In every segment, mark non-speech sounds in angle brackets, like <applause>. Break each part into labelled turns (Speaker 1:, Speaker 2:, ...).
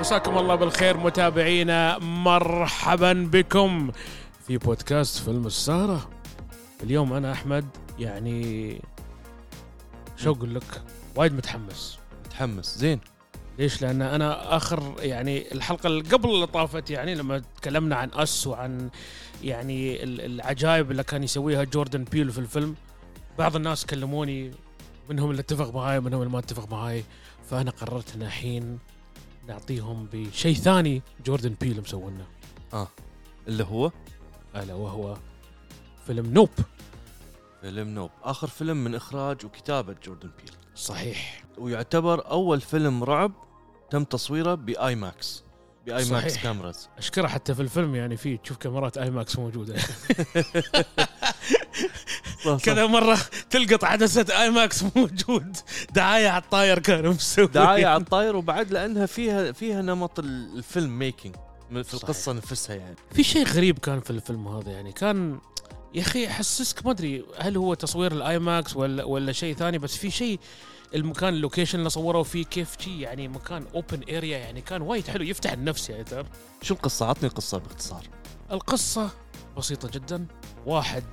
Speaker 1: مساكم الله بالخير متابعينا مرحبا بكم في بودكاست فيلم السهرة اليوم أنا أحمد يعني شو أقول لك وايد متحمس
Speaker 2: متحمس زين
Speaker 1: ليش لأن أنا آخر يعني الحلقة اللي قبل اللي طافت يعني لما تكلمنا عن أس وعن يعني ال- العجائب اللي كان يسويها جوردن بيل في الفيلم بعض الناس كلموني منهم اللي اتفق معاي ومنهم اللي ما اتفق معاي فأنا قررت أن الحين نعطيهم بشيء ثاني جوردن بيل مسوينه
Speaker 2: اللي هو
Speaker 1: الا وهو فيلم نوب
Speaker 2: فيلم نوب اخر فيلم من اخراج وكتابه جوردن بيل
Speaker 1: صحيح
Speaker 2: ويعتبر اول فيلم رعب تم تصويره باي ماكس باي ماكس
Speaker 1: صحيح.
Speaker 2: كاميراز
Speaker 1: اشكره حتى في الفيلم يعني في تشوف كاميرات اي ماكس موجوده
Speaker 2: <laughs>
Speaker 1: كذا مره تلقط عدسه اي ماكس موجود دعايه على الطاير كانوا مسوي
Speaker 2: دعايه على الطاير وبعد لانها فيها فيها نمط ال- الفيلم ميكينج م- في
Speaker 1: صحيح.
Speaker 2: القصه نفسها يعني
Speaker 1: في شيء غريب كان في الفيلم هذا يعني كان يا اخي احسسك ما ادري هل هو تصوير الاي ماكس ولا ولا شيء ثاني بس في شيء المكان اللوكيشن اللي صوروا فيه كيف شي يعني مكان اوبن اريا يعني كان وايد حلو يفتح النفس يعني تعرف
Speaker 2: شو القصه عطني القصه باختصار
Speaker 1: القصة بسيطة جدا واحد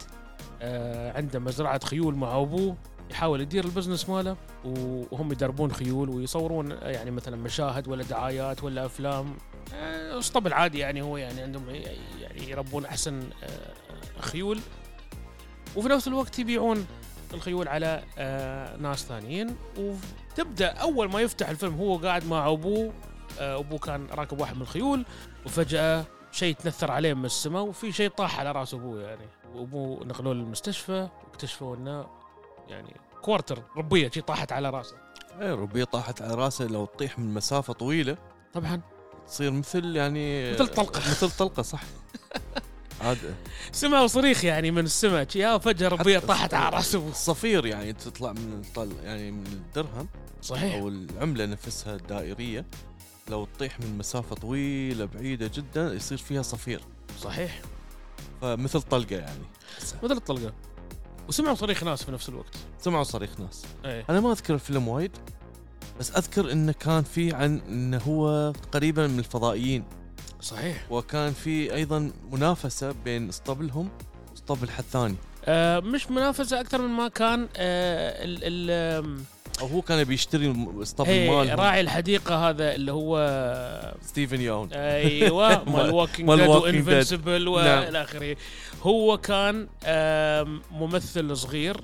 Speaker 1: آه عنده مزرعة خيول مع أبوه يحاول يدير البزنس ماله وهم يدربون خيول ويصورون آه، يعني مثلا مشاهد ولا دعايات ولا أفلام آه اسطبل عادي يعني هو يعني عندهم ي- يعني يربون أحسن آه خيول وفي نفس الوقت يبيعون الخيول على آه ناس ثانيين وتبدأ أول ما يفتح الفيلم هو قاعد مع أبوه آه أبوه كان راكب واحد من الخيول وفجأة شيء تنثر عليه من السماء وفي شيء طاح على راس ابوه يعني وابوه نقلوه للمستشفى واكتشفوا انه يعني كوارتر ربيه شي طاحت على راسه
Speaker 2: اي ربي طاحت على راسه لو تطيح من مسافه طويله
Speaker 1: طبعا
Speaker 2: تصير مثل يعني
Speaker 1: مثل طلقة.
Speaker 2: <laughs> مثل طلقه صح عاد
Speaker 1: سمع صريخ يعني من السماء شي، يا فجاه ربيه
Speaker 2: حتى-
Speaker 1: طاحت على راس ابوه
Speaker 2: الصفير يعني تطلع من الطل يعني من الدرهم
Speaker 1: صحيح
Speaker 2: او العمله نفسها الدائريه لو تطيح من مسافه طويله بعيده جدا يصير فيها صفير
Speaker 1: صحيح
Speaker 2: فمثل طلقه يعني
Speaker 1: مثل الطلقه وسمعوا صريخ ناس في نفس الوقت
Speaker 2: سمعوا صريخ ناس
Speaker 1: ايه
Speaker 2: انا ما اذكر الفيلم وايد بس اذكر انه كان في عن انه هو قريبا من الفضائيين
Speaker 1: صحيح
Speaker 2: وكان في ايضا منافسه بين اسطبلهم واسطبل حد ثاني
Speaker 1: آه مش منافسه اكثر من ما كان آه ال ال آم،
Speaker 2: او هو كان بيشتري الم- اسطبل
Speaker 1: هي
Speaker 2: مالهم
Speaker 1: راعي الحديقه هذا اللي هو
Speaker 2: ستيفن يون
Speaker 1: ايوه
Speaker 2: <laughs>
Speaker 1: مال
Speaker 2: مال-
Speaker 1: ووكينج
Speaker 2: مال
Speaker 1: ديد
Speaker 2: Walking Dead.
Speaker 1: وانفنسبل
Speaker 2: نعم.
Speaker 1: والى اخره هو كان آم، ممثل صغير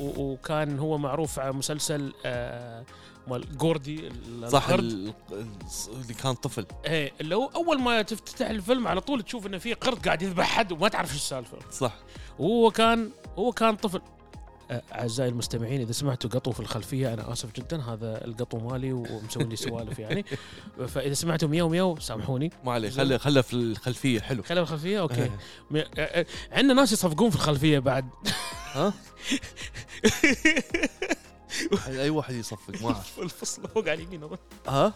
Speaker 1: و- وكان هو معروف على مسلسل آه، مال جوردي ال-
Speaker 2: صح
Speaker 1: القرد.
Speaker 2: ال- ال- اللي كان طفل
Speaker 1: إيه، اللي هو اول ما تفتتح الفيلم على طول تشوف انه في قرد قاعد يذبح حد وما تعرف شو السالفه
Speaker 2: صح
Speaker 1: وهو كان هو كان طفل آه، اعزائي المستمعين اذا سمعتوا قطو في الخلفيه انا اسف جدا هذا القطو مالي ومسوي لي سوالف
Speaker 2: <laughs>
Speaker 1: يعني فاذا سمعتوا مياو مياو سامحوني
Speaker 2: ما عليه
Speaker 1: زين.
Speaker 2: خله خله في الخلفيه حلو إيه.
Speaker 1: خلف الخلفيه اوكي م- آه، عندنا ناس يصفقون في الخلفيه بعد
Speaker 2: ها اي واحد يصفق ما اعرف
Speaker 1: الفصل فوق على اليمين أظن.
Speaker 2: ها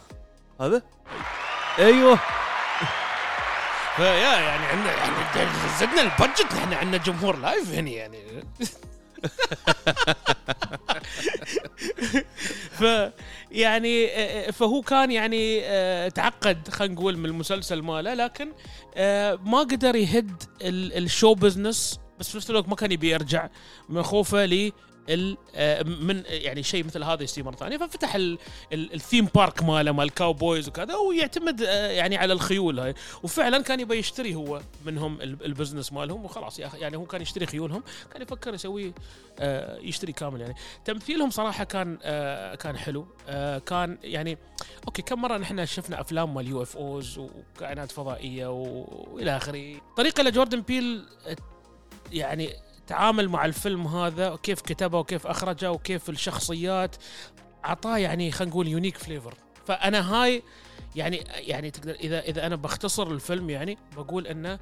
Speaker 2: هذا ايوه
Speaker 1: فيا يعني عندنا يعني زدنا البادجت نحن عندنا جمهور لايف هنا يعني ف يعني آه، آه، فهو كان يعني آه، تعقد خلينا نقول من المسلسل ماله لكن آه، ما قدر يهد ال- الشو بزنس بس في نفس الوقت ما كان يبي يرجع من خوفه ل ال- آه، من يعني شيء مثل هذا يصير مره ثانيه ففتح ال- ال- الثيم بارك ماله مال كاوبويز وكذا ويعتمد آه، يعني على الخيول هاي وفعلا كان يبي يشتري هو منهم ال- البزنس مالهم وخلاص يا أخي، يعني هو كان يشتري خيولهم كان يفكر يسوي آه، يشتري كامل يعني تمثيلهم صراحه كان آه، كان حلو آه، كان يعني اوكي كم مره نحن شفنا افلام مال يو اف اوز وكائنات فضائيه و- والى اخره الطريقه اللي جوردن بيل آه، يعني تعامل مع الفيلم هذا وكيف كتبه وكيف اخرجه وكيف الشخصيات اعطاه يعني خلينا نقول يونيك فليفر فانا هاي يعني يعني تقدر اذا اذا انا بختصر الفيلم يعني بقول انه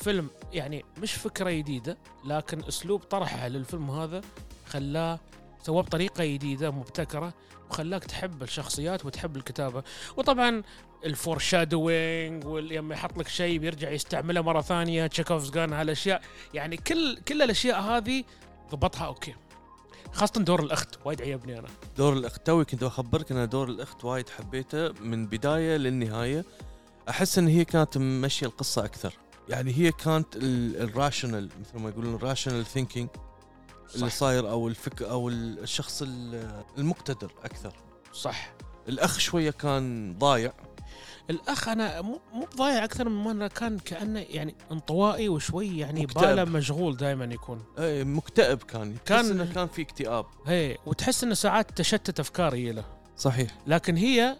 Speaker 1: فيلم يعني مش فكره جديده لكن اسلوب طرحه للفيلم هذا خلاه سواه بطريقه جديده مبتكره وخلاك تحب الشخصيات وتحب الكتابه وطبعا الفور شادوينج ولما يحط لك شيء بيرجع يستعمله مره ثانيه تشيك اوف جان هالاشياء يعني كل كل الاشياء هذه ضبطها اوكي خاصه دور الاخت وايد عيبني انا
Speaker 2: دور الاخت توي كنت بخبرك ان دور الاخت وايد حبيته من بدايه للنهايه احس ان هي كانت ممشيه القصه اكثر يعني هي كانت الراشنال مثل ما يقولون الراشنال ثينكينج اللي
Speaker 1: صح.
Speaker 2: صاير او الفك او ال- الشخص ال- المقتدر اكثر
Speaker 1: صح
Speaker 2: الاخ شويه كان ضايع
Speaker 1: الاخ انا مو مو ضايع اكثر من ما أنا كان كانه يعني انطوائي وشوي يعني
Speaker 2: مكتئب.
Speaker 1: باله مشغول دائما يكون
Speaker 2: إيه، مكتئب كان كان
Speaker 1: كان-
Speaker 2: انه كان في اكتئاب
Speaker 1: هي وتحس انه ساعات تشتت افكار هي له
Speaker 2: صحيح
Speaker 1: لكن هي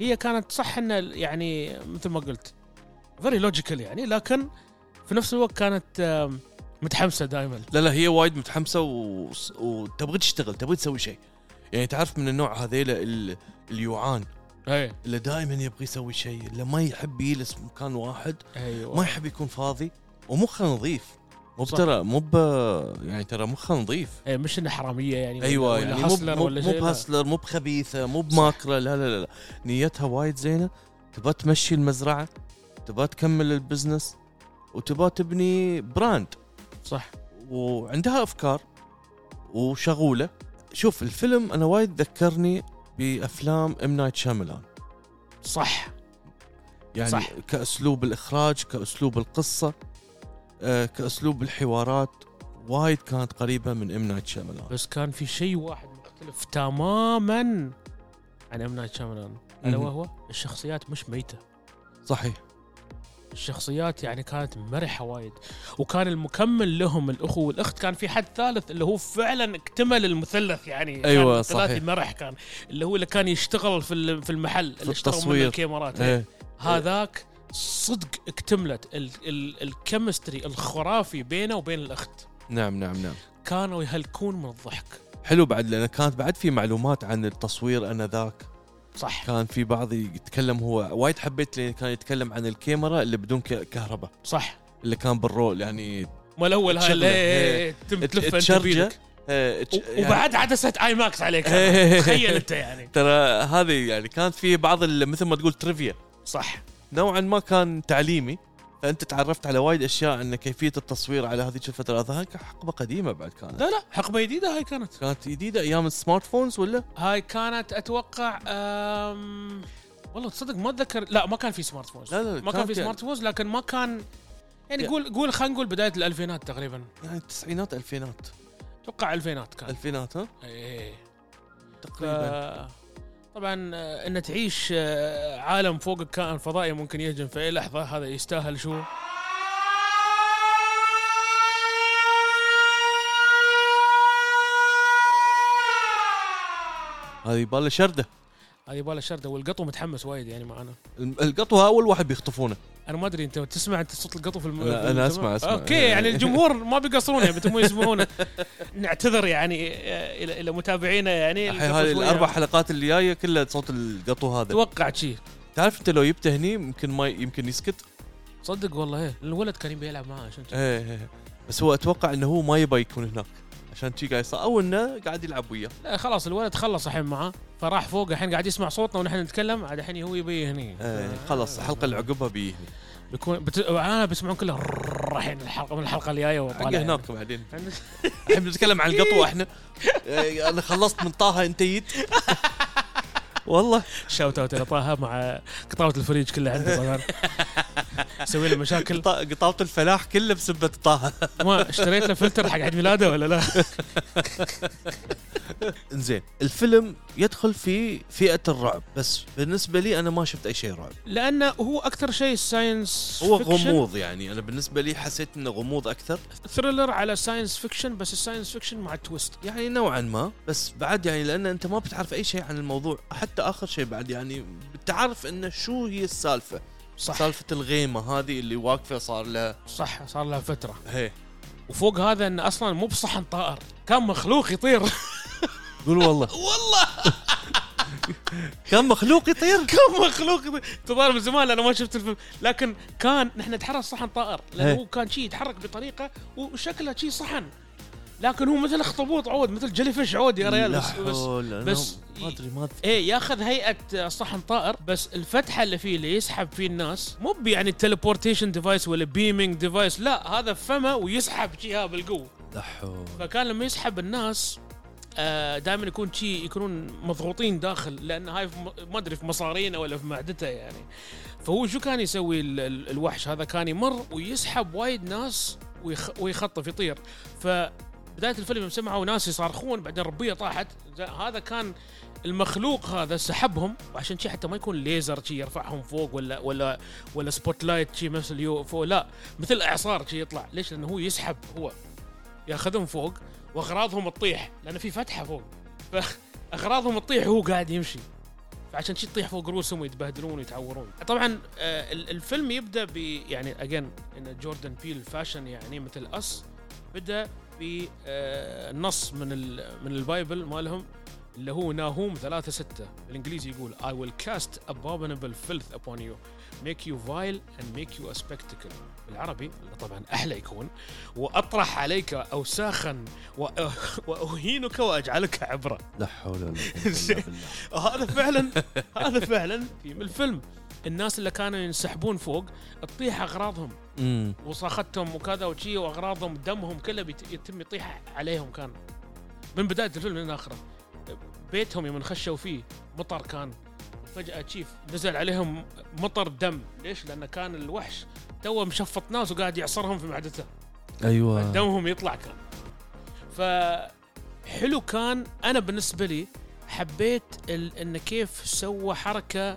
Speaker 1: هي كانت صح انه يعني مثل ما قلت فيري لوجيكال يعني لكن في نفس الوقت كانت آم، متحمسه دائما
Speaker 2: لا لا هي وايد متحمسه و... وتبغى تشتغل تبغى تسوي شيء يعني تعرف من النوع هذيلا ال- اليوعان
Speaker 1: اي
Speaker 2: اللي دائما يبغى يسوي شيء اللي ما يحب يجلس مكان واحد ما
Speaker 1: ايوه
Speaker 2: يحب يكون فاضي ومخه نظيف مو ترى مو ب يعني ترى مخه نظيف
Speaker 1: اي إيه، مش انها حراميه يعني
Speaker 2: ايوه
Speaker 1: ولا
Speaker 2: يعني مو ب-
Speaker 1: هاسلر
Speaker 2: مو
Speaker 1: ولا
Speaker 2: ب-
Speaker 1: شيء
Speaker 2: مو
Speaker 1: لا.
Speaker 2: بهاسلر مو بخبيثه مو بماكره لا لا لا, لا. نيتها وايد زينه تبى تمشي المزرعه تبى تكمل البزنس وتبى تبني براند
Speaker 1: صح
Speaker 2: وعندها افكار وشغوله شوف الفيلم انا وايد ذكرني بافلام ام نايت شاملان
Speaker 1: صح
Speaker 2: يعني
Speaker 1: صح.
Speaker 2: صح. كاسلوب الاخراج كاسلوب القصه آه، كاسلوب الحوارات وايد كانت قريبه من ام نايت شاملان
Speaker 1: بس كان في شيء واحد مختلف يعني تماما عن ام نايت شاملان الا
Speaker 2: مهم.
Speaker 1: وهو الشخصيات مش ميته
Speaker 2: صحيح
Speaker 1: الشخصيات يعني كانت مرحه وايد وكان المكمل لهم الاخو والاخت كان في حد ثالث اللي هو فعلا اكتمل المثلث يعني
Speaker 2: أيوة،
Speaker 1: كان ثلاثي
Speaker 2: صحيح.
Speaker 1: مرح كان اللي هو اللي كان يشتغل في ال- في المحل اللي اشتغل منه
Speaker 2: التصوير.
Speaker 1: الكاميرات
Speaker 2: ايه
Speaker 1: هذاك صدق اكتملت ال- ال- الكيمستري الخرافي بينه وبين الاخت
Speaker 2: نعم نعم نعم
Speaker 1: كانوا يهلكون من الضحك
Speaker 2: حلو بعد لان كانت بعد في معلومات عن التصوير انذاك
Speaker 1: صح
Speaker 2: كان في بعض يتكلم هو وايد حبيت لان كان يتكلم عن الكاميرا اللي بدون ك- كهرباء
Speaker 1: صح
Speaker 2: اللي كان بالرول يعني
Speaker 1: ما الاول هاي
Speaker 2: تشغله.
Speaker 1: اللي تم
Speaker 2: ات-
Speaker 1: تلفه انت
Speaker 2: تشرجه.
Speaker 1: بيدك
Speaker 2: آه، اتش-
Speaker 1: و- وبعد عدسه اي ماكس
Speaker 2: <laughs>
Speaker 1: عليك
Speaker 2: إيه.
Speaker 1: تخيل انت يعني
Speaker 2: ترى هذه يعني كانت في بعض ال- مثل ما تقول ترivia
Speaker 1: صح
Speaker 2: نوعا ما كان تعليمي فانت تعرفت على وايد اشياء ان كيفيه التصوير على هذيك الفتره هذا هيك حقبه قديمه بعد كانت
Speaker 1: لا لا حقبه جديده هاي كانت
Speaker 2: كانت جديده ايام السمارت فونز ولا
Speaker 1: هاي كانت اتوقع أم... والله تصدق ما اتذكر لا ما كان في سمارت فونز
Speaker 2: لا، لا،
Speaker 1: ما كان
Speaker 2: كان
Speaker 1: في
Speaker 2: في-
Speaker 1: سمارت فونز لكن ما كان يعني
Speaker 2: يا.
Speaker 1: قول قول خلينا نقول بدايه الالفينات تقريبا
Speaker 2: يعني التسعينات الفينات
Speaker 1: اتوقع الفينات كان
Speaker 2: الفينات ها
Speaker 1: ايه نعم. ف...
Speaker 2: تقريبا
Speaker 1: طبعا آه، ان تعيش آه، عالم فوقك كائن فضائي ممكن يهجم في اي لحظه هذا يستاهل شو
Speaker 2: هذه يبالها شرده
Speaker 1: هذه يبغى شرده والقطو متحمس وايد يعني معنا
Speaker 2: الم- القطوه اول واحد بيخطفونه
Speaker 1: انا ما ادري انت تسمع انت صوت القطو في الم...
Speaker 2: لا،
Speaker 1: في
Speaker 2: أنا
Speaker 1: الم-
Speaker 2: أسمع- أسمع.
Speaker 1: اوكي يعني
Speaker 2: <laughs>
Speaker 1: الجمهور ما بيقصرون يعني بتمو يسمعونه نعتذر يعني آه، الى الى متابعينا يعني
Speaker 2: الحين
Speaker 1: القطو
Speaker 2: هذه
Speaker 1: شوية
Speaker 2: الاربع حلقات اللي جايه كلها صوت القطو هذا
Speaker 1: توقعت شيء
Speaker 2: تعرف انت لو جبته هني يمكن ما يمكن يسكت
Speaker 1: صدق والله ايه الولد كان يبي يلعب معاه عشان كذا.
Speaker 2: ايه إيه. بس هو اتوقع انه هو ما يبى يكون هناك عشان شي قاعد يصير او انه قاعد يلعب وياه
Speaker 1: لا خلاص الولد خلص الحين معاه فراح فوق الحين قاعد يسمع صوتنا ونحن نتكلم عاد الحين هو يبي هني
Speaker 2: ايه خلاص الحلقه اللي عقبها بيه
Speaker 1: بيكون بت... انا بيسمعون كله <laughs> الحين الحلقه من الحلقه الجايه
Speaker 2: حقه
Speaker 1: وطالع
Speaker 2: هناك بعدين
Speaker 1: يعني.
Speaker 2: الحين بنتكلم عن القطوه احنا إيه، انا خلصت من طه انت جيت والله
Speaker 1: شاوت اوت الى طه مع قطاوه الفريج كله عنده طبعا
Speaker 2: <laughs>
Speaker 1: سوي له مشاكل
Speaker 2: قط- قطاوه الفلاح كله بسبه طه
Speaker 1: ما اشتريت له فلتر حق عيد ميلاده ولا لا؟
Speaker 2: زين الفيلم يدخل في فئه الرعب بس بالنسبه لي انا ما شفت اي شيء رعب
Speaker 1: لانه هو اكثر شيء ساينس
Speaker 2: هو غموض يعني انا بالنسبه لي حسيت انه غموض اكثر
Speaker 1: ثريلر على ساينس فيكشن بس الساينس فيكشن مع تويست
Speaker 2: يعني نوعا ما بس بعد يعني لان انت ما بتعرف اي شيء عن الموضوع حتى اخر شيء بعد يعني بتعرف انه شو هي السالفه
Speaker 1: صح
Speaker 2: سالفه الغيمه هذه اللي واقفه صار لها
Speaker 1: صح صار لها فتره
Speaker 2: هي
Speaker 1: وفوق هذا انه اصلا مو بصحن طائر كان مخلوق يطير <laughs>
Speaker 2: قول والله
Speaker 1: والله
Speaker 2: كان مخلوق يطير
Speaker 1: كان مخلوق يطير تظهر من زمان انا ما شفت الفيلم لكن كان نحن نتحرك صحن طائر لانه
Speaker 2: إيه.
Speaker 1: هو كان شي يتحرك بطريقه وشكله شي صحن لكن هو مثل اخطبوط عود مثل جلي فيش عود يا ريال
Speaker 2: لا
Speaker 1: بس, بس
Speaker 2: حول، أنا
Speaker 1: بس-
Speaker 2: ما ادري ما أذكر.
Speaker 1: ايه ياخذ هيئه صحن طائر بس الفتحه اللي فيه اللي يسحب فيه الناس مو ب يعني تليبورتيشن ديفايس ولا بيمينج ديفايس لا هذا فمه ويسحب جهه بالقوه
Speaker 2: لا حول
Speaker 1: فكان لما يسحب الناس دائما يكون شي يكونون مضغوطين داخل لان هاي في م- ما ادري في مصارينه ولا في معدته يعني فهو شو كان يسوي ال- ال- الوحش هذا كان يمر ويسحب وايد ناس ويخ- ويخطف يطير ف بداية الفيلم يوم سمعوا ناس يصارخون بعدين ربية طاحت زي- هذا كان المخلوق هذا سحبهم وعشان شي حتى ما يكون ليزر شي يرفعهم فوق ولا ولا ولا سبوت لايت شي مثل اليو فوق لا مثل اعصار شي يطلع ليش؟ لانه هو يسحب هو ياخذهم فوق واغراضهم تطيح لان في فتحه فوق فاغراضهم تطيح وهو قاعد يمشي فعشان شي تطيح فوق رؤوسهم ويتبهدلون ويتعورون طبعا آه، ال- الفيلم يبدا ب يعني اجين ان جوردن بيل فاشن يعني مثل اس بدا بنص آه، من ال- من البايبل مالهم اللي هو ناهوم 3 6 بالانجليزي يقول I will cast abominable filth upon you make you vile and make you a spectacle بالعربي اللي طبعا احلى يكون واطرح عليك اوساخا <laughs> وأ- واهينك واجعلك عبره
Speaker 2: لا حول ولا قوه
Speaker 1: زين.
Speaker 2: الا
Speaker 1: <laughs>
Speaker 2: بالله
Speaker 1: هذا فعلا هذا فعلا ثيم الفيلم الناس اللي كانوا ينسحبون فوق تطيح اغراضهم
Speaker 2: أمم.
Speaker 1: وصاختهم وكذا وشي واغراضهم دمهم كله بيت- يتم يطيح عليهم كان من بدايه الفيلم لين اخره بيتهم يوم خشوا فيه مطر كان فجاه تشيف نزل عليهم مطر دم ليش؟ لانه كان الوحش توه مشفط ناس وقاعد يعصرهم في معدته <laughs>
Speaker 2: ايوه
Speaker 1: دمهم يطلع كان فحلو كان انا بالنسبه لي حبيت ال... انه كيف سوى حركه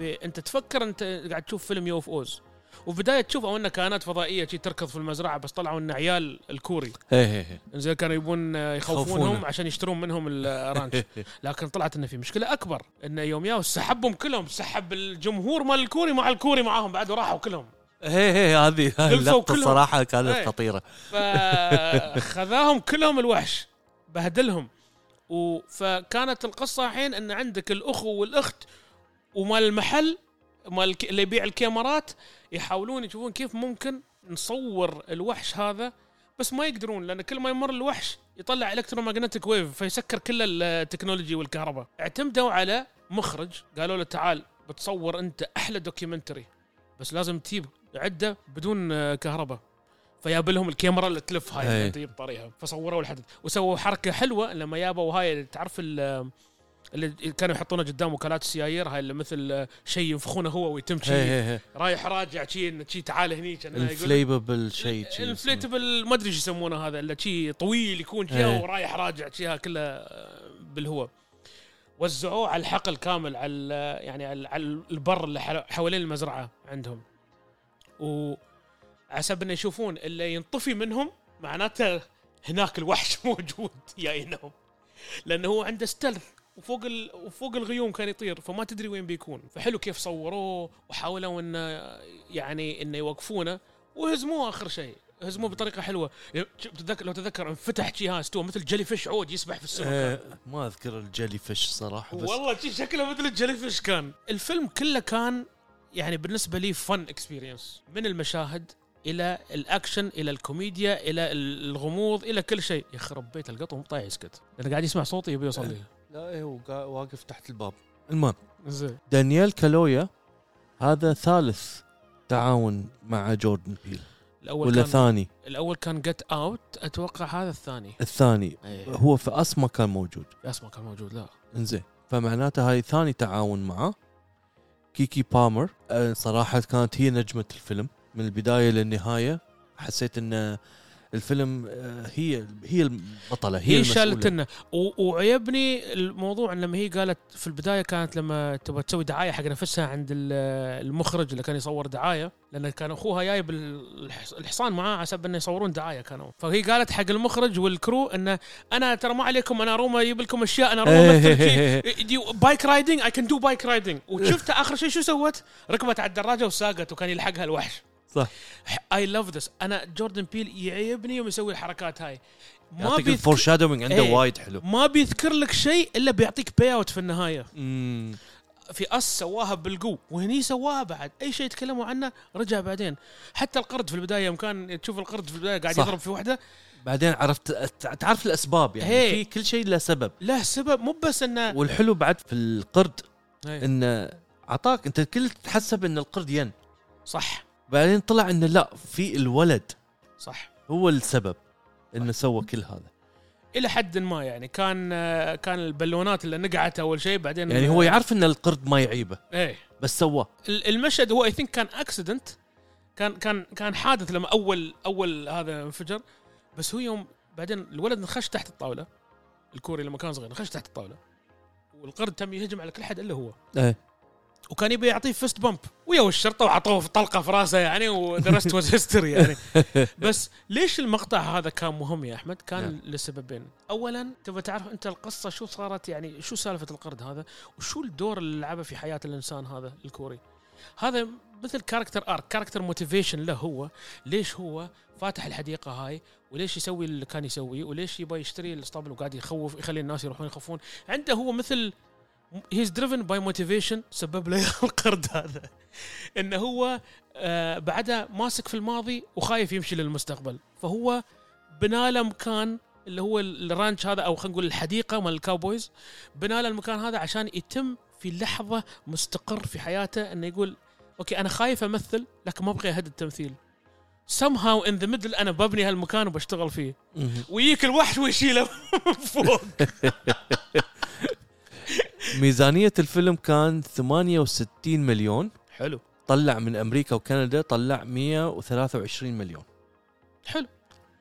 Speaker 1: ب... انت تفكر انت قاعد تشوف فيلم يو اوف اوز وبدايه تشوف او انه كائنات فضائيه شي تركض في المزرعه بس طلعوا انه عيال الكوري
Speaker 2: هي هي هي.
Speaker 1: انزين كانوا يبون يخوفونهم
Speaker 2: يخوفونه.
Speaker 1: عشان يشترون منهم
Speaker 2: <laughs>
Speaker 1: الرانش لكن طلعت انه في مشكله اكبر انه يوم ياو سحبهم كلهم سحب الجمهور مال الكوري مع الكوري معاهم بعد وراحوا كلهم
Speaker 2: هي هي هذه هاي
Speaker 1: لبسوا
Speaker 2: اللقطه
Speaker 1: كلهم.
Speaker 2: الصراحه
Speaker 1: إيه.
Speaker 2: كانت خطيره
Speaker 1: فخذاهم كلهم الوحش بهدلهم و... فكانت القصه الحين ان عندك الاخو والاخت ومال المحل مال الك- اللي يبيع الكاميرات يحاولون يشوفون كيف ممكن نصور الوحش هذا بس ما يقدرون لان كل ما يمر الوحش يطلع الكترومagnetic ويف فيسكر كل ال- التكنولوجي والكهرباء اعتمدوا على مخرج قالوا له تعال بتصور انت احلى دوكيومنتري بس لازم تجيب عده بدون آه، كهرباء فياب لهم الكاميرا اللي تلف هاي اللي
Speaker 2: أي.
Speaker 1: تجيب طريقها فصوروا الحدث وسووا حركه حلوه لما يابوا هاي اللي تعرف ال- اللي كانوا يحطونه قدام وكالات السيايير هاي اللي مثل آه، شيء ينفخونه هو ويتم
Speaker 2: هي
Speaker 1: شيء
Speaker 2: هي هي
Speaker 1: رايح راجع شيء شيء تعال هني كأنه إيه، يقول- إيه،
Speaker 2: الفليبل شيء شيء اسمه.
Speaker 1: الانفليتبل ما ادري ايش يسمونه هذا اللي شي طويل يكون شي
Speaker 2: إيه.
Speaker 1: ورايح راجع شي كله بالهواء وزعوه على الحقل كامل على ال- يعني على على البر اللي حل- حوالين المزرعه عندهم وعسب انه يشوفون اللي ينطفي منهم معناته هناك الوحش <laughs> موجود جايينهم لانه هو عنده ستلث وفوق ال... وفوق الغيوم كان يطير فما تدري وين بيكون فحلو كيف صوروه وحاولوا انه يعني انه يوقفونه وهزموه اخر شيء هزموه بطريقه حلوه يعني شوف تتذكر لو تتذكر انفتح شي ها استوى مثل جلي فيش عود يسبح في السمك
Speaker 2: إيه، ما اذكر الجلي فيش صراحه بس
Speaker 1: والله شي شكله مثل الجلي فيش كان الفيلم كله كان يعني بالنسبه لي فن اكسبيرينس من المشاهد الى الاكشن الى الكوميديا الى الغموض الى كل شيء يخرب بيت القط مو طايح يسكت لانه قاعد يسمع صوتي يبي يوصل لي
Speaker 2: لا إيه، هو قا- واقف تحت الباب المهم
Speaker 1: أه. زين
Speaker 2: دانيال كالويا هذا ثالث تعاون مع جوردن بيل
Speaker 1: الاول
Speaker 2: ولا
Speaker 1: كان
Speaker 2: ثاني
Speaker 1: الاول كان جت اوت اتوقع هذا الثاني
Speaker 2: الثاني
Speaker 1: ايه
Speaker 2: هو في اس ما كان موجود
Speaker 1: اسمه كان موجود لا
Speaker 2: انزين فمعناته هاي ثاني تعاون معه كيكي بامر آه، صراحة كانت هي نجمة الفيلم من البداية للنهاية حسيت ان الفيلم آه، هي هي البطلة هي,
Speaker 1: هي
Speaker 2: المسؤولة.
Speaker 1: شالتنا و- وعيبني الموضوع ان لما هي قالت في البدايه كانت لما تبغى تسوي دعايه حق نفسها عند ال- المخرج اللي كان يصور دعايه لان كان اخوها جايب ال- الحص- الحصان معاه حسب انه يصورون دعايه كانوا فهي قالت حق المخرج والكرو انه انا ترى ما عليكم انا روما اجيب لكم اشياء انا
Speaker 2: إيه.
Speaker 1: روما مثل شي. بايك رايدنج اي كان دو بايك رايدنج وشفت اخر شيء شو سوت؟ ركبت على الدراجه وساقت وكان يلحقها الوحش
Speaker 2: صح.
Speaker 1: اي لاف ذس انا جوردن بيل يعيبني يوم يسوي الحركات هاي ما
Speaker 2: يعطيك
Speaker 1: بيذكر
Speaker 2: الفور شادوينج عنده
Speaker 1: إيه.
Speaker 2: وايد حلو
Speaker 1: ما بيذكر لك شيء الا بيعطيك باي اوت في النهايه
Speaker 2: مم.
Speaker 1: في اس سواها بالقو وهني سواها بعد اي شيء تكلموا عنه رجع بعدين حتى القرد في البدايه يوم كان تشوف القرد في البدايه قاعد
Speaker 2: صح.
Speaker 1: يضرب في وحده
Speaker 2: بعدين عرفت تع- تعرف الاسباب يعني
Speaker 1: هي.
Speaker 2: في كل شيء له سبب
Speaker 1: له سبب مو بس انه
Speaker 2: والحلو بعد في القرد
Speaker 1: إيه،
Speaker 2: انه عطاك انت الكل تحسب ان القرد ين
Speaker 1: صح
Speaker 2: بعدين طلع انه لا في الولد
Speaker 1: صح
Speaker 2: هو السبب انه سوى كل هذا
Speaker 1: الى حد ما يعني كان آه، كان البالونات اللي نقعت اول شيء بعدين إيه.
Speaker 2: يعني هو يعني يعرف ان القرد ما يعيبه
Speaker 1: ايه
Speaker 2: بس سواه
Speaker 1: ال- المشهد هو اي ثينك كان اكسيدنت كان كان كان حادث لما اول اول هذا انفجر بس هو يوم بعدين الولد انخش تحت الطاوله الكوري لما كان صغير انخش تحت الطاوله والقرد تم يهجم على كل حد الا هو
Speaker 2: ايه
Speaker 1: وكان يبي يعطيه فيست بامب ويا الشرطه وعطوه في طلقه في راسه يعني ودرست واز هيستوري يعني بس ليش المقطع هذا كان مهم يا احمد؟ كان
Speaker 2: نعم.
Speaker 1: لسببين، اولا تبغى تعرف انت القصه شو صارت يعني شو سالفه القرد هذا؟ وشو الدور اللي لعبه في حياه الانسان هذا الكوري؟ هذا مثل كاركتر ارك، كاركتر موتيفيشن له هو، ليش هو فاتح الحديقه هاي وليش يسوي اللي كان يسويه وليش يبغى يشتري الاسطبل وقاعد يخوف يخلي الناس يروحون يخافون، عنده هو مثل هيز دريفن باي موتيفيشن سبب له <laughs> القرد هذا انه هو آه، بعدها ماسك في الماضي وخايف يمشي للمستقبل فهو بنى له مكان اللي هو الرانش هذا او خلينا نقول الحديقه مال الكاوبويز بنى له المكان هذا عشان يتم في لحظه مستقر في حياته انه يقول اوكي انا خايف امثل لكن ما ابغى اهد التمثيل somehow in the middle انا ببني هالمكان وبشتغل فيه ويجيك الوحش ويشيله <laughs> من فوق
Speaker 2: ميزانيه الفيلم كان 68 مليون
Speaker 1: حلو
Speaker 2: طلع من امريكا وكندا طلع 123 مليون
Speaker 1: حلو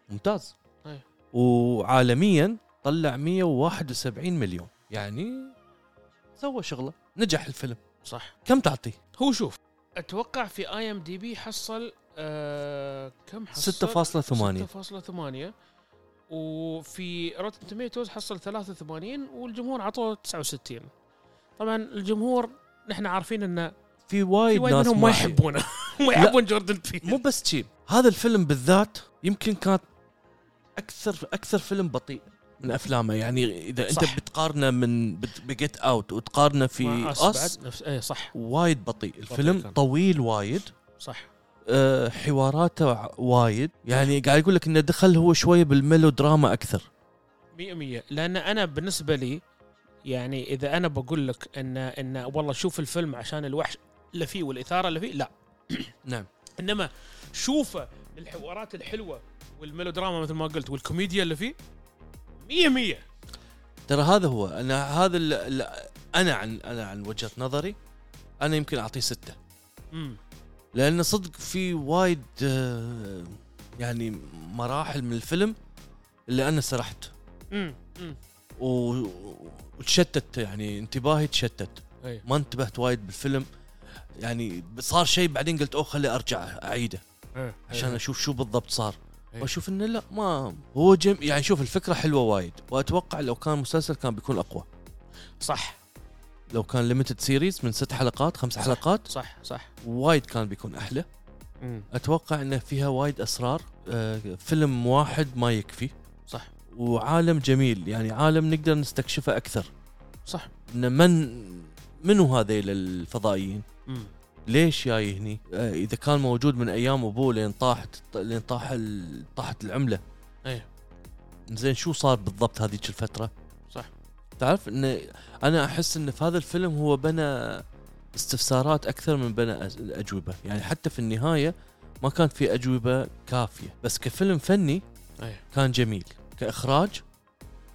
Speaker 2: ممتاز
Speaker 1: أيه.
Speaker 2: وعالميا طلع 171 مليون يعني سوى شغله نجح الفيلم
Speaker 1: صح
Speaker 2: كم تعطيه
Speaker 1: هو شوف اتوقع في اي ام دي بي حصل آه كم حصل
Speaker 2: 6.8
Speaker 1: 6.8 وفي روتن توميتوز حصل 83 والجمهور عطوه 69 طبعا الجمهور نحن عارفين ان
Speaker 2: في
Speaker 1: في
Speaker 2: وايد
Speaker 1: وايد
Speaker 2: طيب، ناس
Speaker 1: منهم ما
Speaker 2: يحبون
Speaker 1: يحبونه <laughs> ما يحبون جوردن
Speaker 2: مو
Speaker 1: بيل
Speaker 2: بس شي هذا الفيلم بالذات يمكن كانت اكثر اكثر فيلم بطيء من افلامه يعني اذا انت
Speaker 1: صح.
Speaker 2: بتقارنه من بت- بجيت اوت وتقارنه في
Speaker 1: مع أس
Speaker 2: اس
Speaker 1: بعد نفس ايه صح
Speaker 2: وايد بطيء الفيلم
Speaker 1: كان.
Speaker 2: طويل وايد
Speaker 1: صح
Speaker 2: أه حواراته ع- وايد يعني قاعد يقول لك انه دخل هو شويه بالميلودراما اكثر
Speaker 1: 100% لان انا بالنسبه لي يعني اذا انا بقول لك ان ان والله شوف الفيلم عشان الوحش اللي فيه والاثاره اللي فيه لا
Speaker 2: <coughs> نعم
Speaker 1: انما شوفه للحوارات الحلوه والميلودراما مثل ما قلت والكوميديا اللي فيه مية مية
Speaker 2: ترى هذا هو انا هذا ال- ال- انا عن انا عن وجهه نظري انا يمكن اعطيه سته
Speaker 1: امم
Speaker 2: لان صدق في وايد آه، يعني مراحل من الفيلم اللي انا سرحت
Speaker 1: امم أمم.
Speaker 2: و- وتشتت يعني انتباهي تشتت
Speaker 1: أي.
Speaker 2: ما انتبهت وايد بالفيلم يعني صار شيء بعدين قلت اوه خلي ارجع اعيده
Speaker 1: إيه.
Speaker 2: عشان اشوف شو بالضبط صار
Speaker 1: أي.
Speaker 2: واشوف انه لا ما هو جم يعني شوف الفكره حلوه وايد واتوقع لو كان مسلسل كان بيكون اقوى
Speaker 1: صح
Speaker 2: لو كان ليمتد سيريز من ست حلقات خمس حلقات
Speaker 1: صح صح
Speaker 2: وايد كان بيكون احلى
Speaker 1: امم
Speaker 2: اتوقع انه فيها وايد اسرار آه، فيلم واحد ما يكفي
Speaker 1: صح
Speaker 2: وعالم جميل يعني عالم نقدر نستكشفه اكثر
Speaker 1: صح
Speaker 2: إن من منو هذيل الفضائيين
Speaker 1: امم
Speaker 2: ليش جاي هني آه، اذا كان موجود من ايام ابوه لين طاحت لين طاح ال- طاحت العمله
Speaker 1: ايه
Speaker 2: زين شو صار بالضبط هذيك الفتره
Speaker 1: صح.
Speaker 2: تعرف ان انا احس ان في هذا الفيلم هو بنى استفسارات اكثر من بنى أز- اجوبه يعني حتى في النهايه ما كان في اجوبه كافيه بس كفيلم فني
Speaker 1: أيه.
Speaker 2: كان جميل كاخراج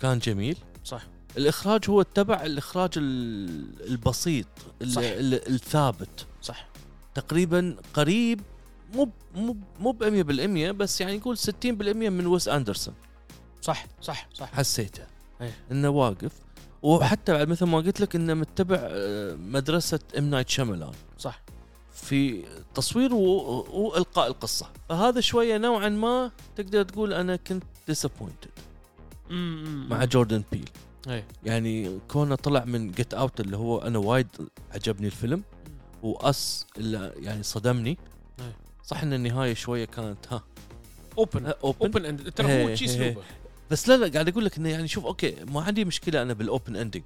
Speaker 2: كان جميل
Speaker 1: صح
Speaker 2: الاخراج هو اتبع الاخراج ال- البسيط ال-
Speaker 1: صح.
Speaker 2: ال- الثابت
Speaker 1: صح
Speaker 2: تقريبا قريب مو مو مو ب 100% بس يعني نقول 60% من ويس اندرسون
Speaker 1: صح صح صح
Speaker 2: حسيته
Speaker 1: أيه.
Speaker 2: انه واقف وحتى بعد مثل ما قلت لك انه متبع آه، مدرسه ام نايت شملان
Speaker 1: صح
Speaker 2: في تصوير و- والقاء القصه فهذا شويه نوعا ما تقدر تقول انا كنت ديسابوينتد
Speaker 1: امم
Speaker 2: مع جوردن بيل
Speaker 1: أيه.
Speaker 2: يعني كونه طلع من جيت اوت اللي هو انا وايد عجبني الفيلم واس اللي يعني صدمني
Speaker 1: أيه.
Speaker 2: صح ان النهايه شويه كانت ها
Speaker 1: اوبن
Speaker 2: اوبن
Speaker 1: اوبن اند ترى هو
Speaker 2: أه. إيه،
Speaker 1: شي
Speaker 2: إيه،
Speaker 1: اسلوبه
Speaker 2: بس لا لا قاعد اقول لك انه يعني شوف اوكي ما عندي مشكله انا بالاوبن اندنج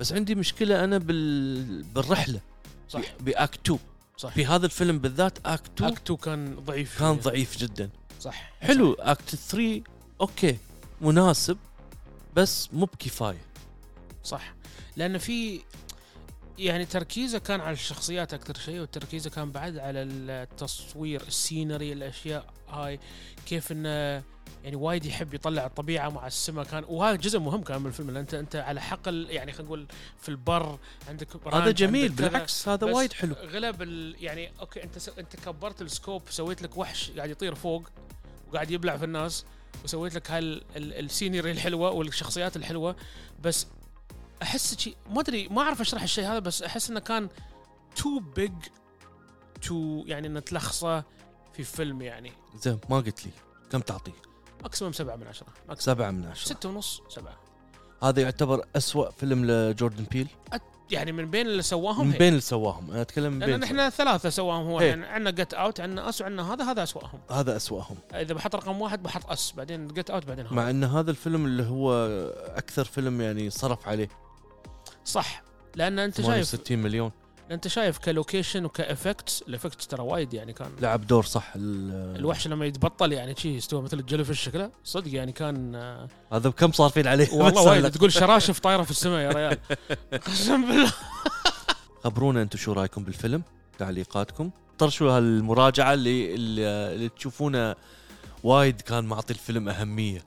Speaker 2: بس عندي مشكله انا بال... بالرحله
Speaker 1: صح
Speaker 2: باكت 2
Speaker 1: صح
Speaker 2: في هذا الفيلم بالذات اكت 2
Speaker 1: اكتو كان ضعيف
Speaker 2: كان ضعيف جدا
Speaker 1: صح
Speaker 2: حلو اكت 3 اوكي مناسب بس مو بكفايه
Speaker 1: صح لان في يعني تركيزه كان على الشخصيات اكثر شيء وتركيزه كان بعد على التصوير السينري الاشياء هاي كيف انه يعني وايد يحب يطلع الطبيعه مع السماء كان وهذا جزء مهم كان من الفيلم لان انت انت على حقل يعني خلينا نقول في البر عندك
Speaker 2: هذا
Speaker 1: رانش،
Speaker 2: جميل
Speaker 1: عندك كذا.
Speaker 2: بالعكس هذا
Speaker 1: بس
Speaker 2: وايد حلو
Speaker 1: غلب ال... يعني اوكي انت س... انت كبرت السكوب سويت لك وحش قاعد يطير فوق وقاعد يبلع في الناس وسويت لك هال ال... السينيري الحلوه والشخصيات الحلوه بس احس شيء ما ادري ما اعرف اشرح الشيء هذا بس احس انه كان تو بيج تو يعني انه تلخصه في فيلم يعني
Speaker 2: زين ما قلت لي كم تعطيه؟
Speaker 1: ماكسيموم سبعة من عشرة ماكسيموم
Speaker 2: سبعة من عشرة
Speaker 1: ستة ونص سبعة
Speaker 2: هذا يعتبر أسوأ فيلم لجوردن بيل
Speaker 1: يعني من بين اللي سواهم
Speaker 2: من
Speaker 1: هي.
Speaker 2: بين اللي سواهم أنا أتكلم من بين إيه.
Speaker 1: لان احنا ثلاثة سواهم هو
Speaker 2: هي.
Speaker 1: يعني عندنا جت اوت عندنا اس وعندنا هذا هذا اسواهم
Speaker 2: هذا أسوأهم
Speaker 1: اذا بحط رقم واحد بحط اس بعدين جت اوت بعدين هذا
Speaker 2: مع أن هذا الفيلم اللي هو أكثر فيلم يعني صرف عليه
Speaker 1: صح لان انت شايف
Speaker 2: 68 مليون
Speaker 1: انت شايف كلوكيشن وكافكتس الافكتس ترى وايد يعني كان
Speaker 2: لعب دور صح ال-
Speaker 1: الوحش لما يتبطل يعني شي يستوي مثل الجلفش شكله صدق يعني
Speaker 2: <laughs>
Speaker 1: كان آه،
Speaker 2: هذا بكم صارفين عليه
Speaker 1: والله
Speaker 2: بس
Speaker 1: وايد
Speaker 2: لا.
Speaker 1: تقول شراشف طايره في السماء يا ريال
Speaker 2: <laughs>
Speaker 1: قسم بالله
Speaker 2: خبرونا انتم شو رايكم بالفيلم تعليقاتكم طرشوا هالمراجعه اللي اللي, اللي تشوفونه وايد كان معطي
Speaker 1: <laughs>
Speaker 2: الفيلم اهميه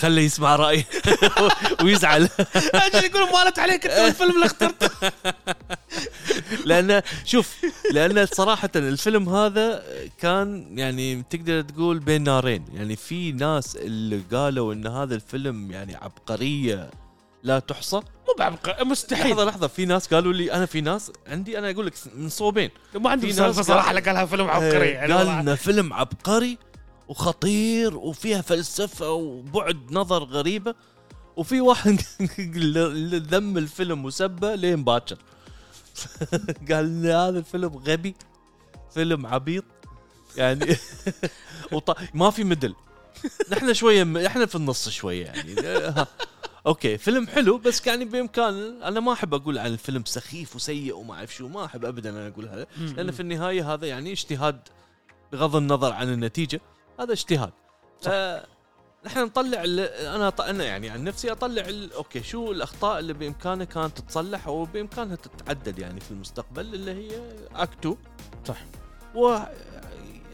Speaker 2: خليه يسمع رايي <laughs> ويزعل
Speaker 1: اجل يقول مالت عليك انت الفيلم اللي اخترته
Speaker 2: لانه شوف لانه صراحه الفيلم هذا كان يعني تقدر تقول بين نارين يعني في ناس اللي قالوا ان هذا الفيلم يعني عبقريه لا تحصى
Speaker 1: مو بعبق مستحيل
Speaker 2: لحظه لحظه في ناس قالوا لي انا في ناس عندي انا اقول لك من صوبين
Speaker 1: ما عندي
Speaker 2: في
Speaker 1: سالفه
Speaker 2: ناس
Speaker 1: صراحه
Speaker 2: قال- إيه،
Speaker 1: اللي قالها فيلم عبقري يعني
Speaker 2: قال
Speaker 1: والله.
Speaker 2: انه فيلم عبقري وخطير وفيها فلسفه وبعد نظر غريبه وفي واحد <laughs> اللي ذم الفيلم وسبه لين باكر <laughs> قال إن هذا الفيلم غبي فيلم عبيط يعني وط... ما في مدل نحن شويه م... احنا في النص شويه يعني ها. اوكي فيلم حلو بس يعني بامكان انا ما احب اقول عن الفيلم سخيف وسيء وما اعرف شو ما احب ابدا انا اقول هذا
Speaker 1: مم.
Speaker 2: لان في النهايه هذا يعني اجتهاد بغض النظر عن النتيجه هذا اجتهاد
Speaker 1: صح.
Speaker 2: آه، نحن نطلع ال- انا أط- انا يعني عن نفسي اطلع ال- اوكي شو الاخطاء اللي بامكانها كانت تتصلح او بامكانها تتعدل يعني في المستقبل اللي هي اكتو
Speaker 1: صح.
Speaker 2: و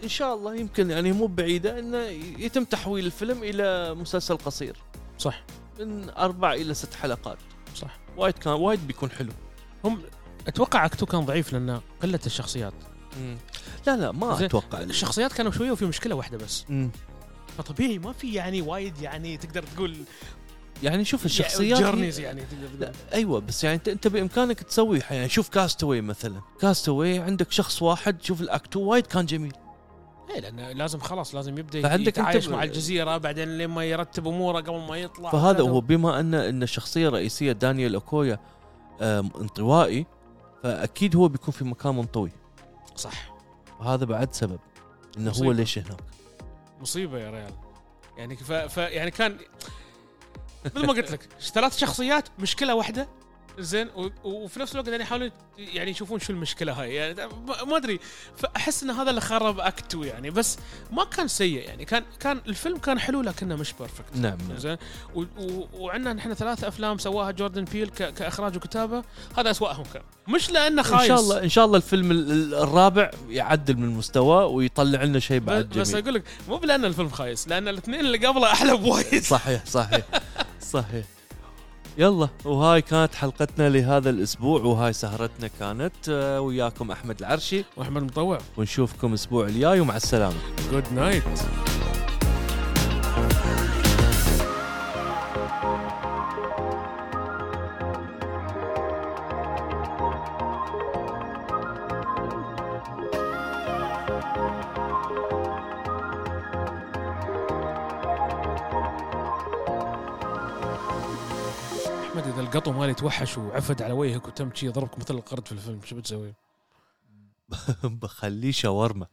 Speaker 2: ان شاء الله يمكن يعني مو بعيده انه يتم تحويل الفيلم الى مسلسل قصير
Speaker 1: صح
Speaker 2: من اربع الى ست حلقات
Speaker 1: صح
Speaker 2: وايد كان وايد بيكون حلو
Speaker 1: هم اتوقع اكتو كان ضعيف لانه قله الشخصيات
Speaker 2: لا لا ما
Speaker 1: زين.
Speaker 2: اتوقع
Speaker 1: الشخصيات كانوا شويه وفي مشكله واحده بس
Speaker 2: مم.
Speaker 1: فطبيعي ما في يعني وايد يعني تقدر تقول
Speaker 2: يعني شوف الشخصيات
Speaker 1: جيرنيز يعني تقدر تقول
Speaker 2: لا ايوه بس يعني انت انت بامكانك تسوي ح- يعني شوف كاستوي مثلا كاستوي عندك شخص واحد شوف الاكت 2 وايد كان جميل
Speaker 1: اي لان إيه، لازم خلاص لازم يبدا
Speaker 2: فعندك
Speaker 1: فعندك
Speaker 2: أنت
Speaker 1: يتعايش
Speaker 2: ب-
Speaker 1: مع الجزيره بعدين لما يرتب اموره قبل ما يطلع
Speaker 2: فهذا هو بما ان ان الشخصيه الرئيسيه دانيال اوكويا آم، انطوائي فاكيد هو بيكون في مكان منطوي
Speaker 1: صح
Speaker 2: وهذا بعد سبب انه هو
Speaker 1: مصيبة.
Speaker 2: ليش هناك
Speaker 1: مصيبه يا ريال يعني ف... ف... يعني كان مثل ما قلت لك ثلاث شخصيات مشكله واحده زين و... وفي نفس الوقت يعني يحاولون يعني يشوفون شو المشكله هاي يعني ما ما ادري فاحس ان هذا اللي خرب اكتو يعني بس ما كان سيء يعني كان كان الفيلم كان حلو لكنه مش بيرفكت
Speaker 2: نعم نعم.
Speaker 1: زين و... و... وعندنا نحن ثلاث افلام سواها جوردن بيل ك... كاخراج وكتابه هذا اسوأهم كان مش لانه خايس
Speaker 2: ان شاء الله ان شاء الله الفيلم ال- ال- الرابع يعدل من مستواه ويطلع لنا شيء بعد
Speaker 1: بس, بس
Speaker 2: جميل
Speaker 1: اقول لك مو بلان الفيلم خايس لان الاثنين اللي قبله احلى بوايد
Speaker 2: صحيح صحيح <laughs> صحيح يلا وهاي كانت حلقتنا لهذا الاسبوع وهاي سهرتنا كانت آه، وياكم احمد العرشي
Speaker 1: واحمد مطوع
Speaker 2: ونشوفكم الاسبوع الجاي ومع السلامه <laughs>
Speaker 1: جود نايت احمد اذا القطو مالي توحش وعفد على وجهك وتم شي ضربك مثل القرد في الفيلم شو بتسوي؟
Speaker 2: بخليه شاورما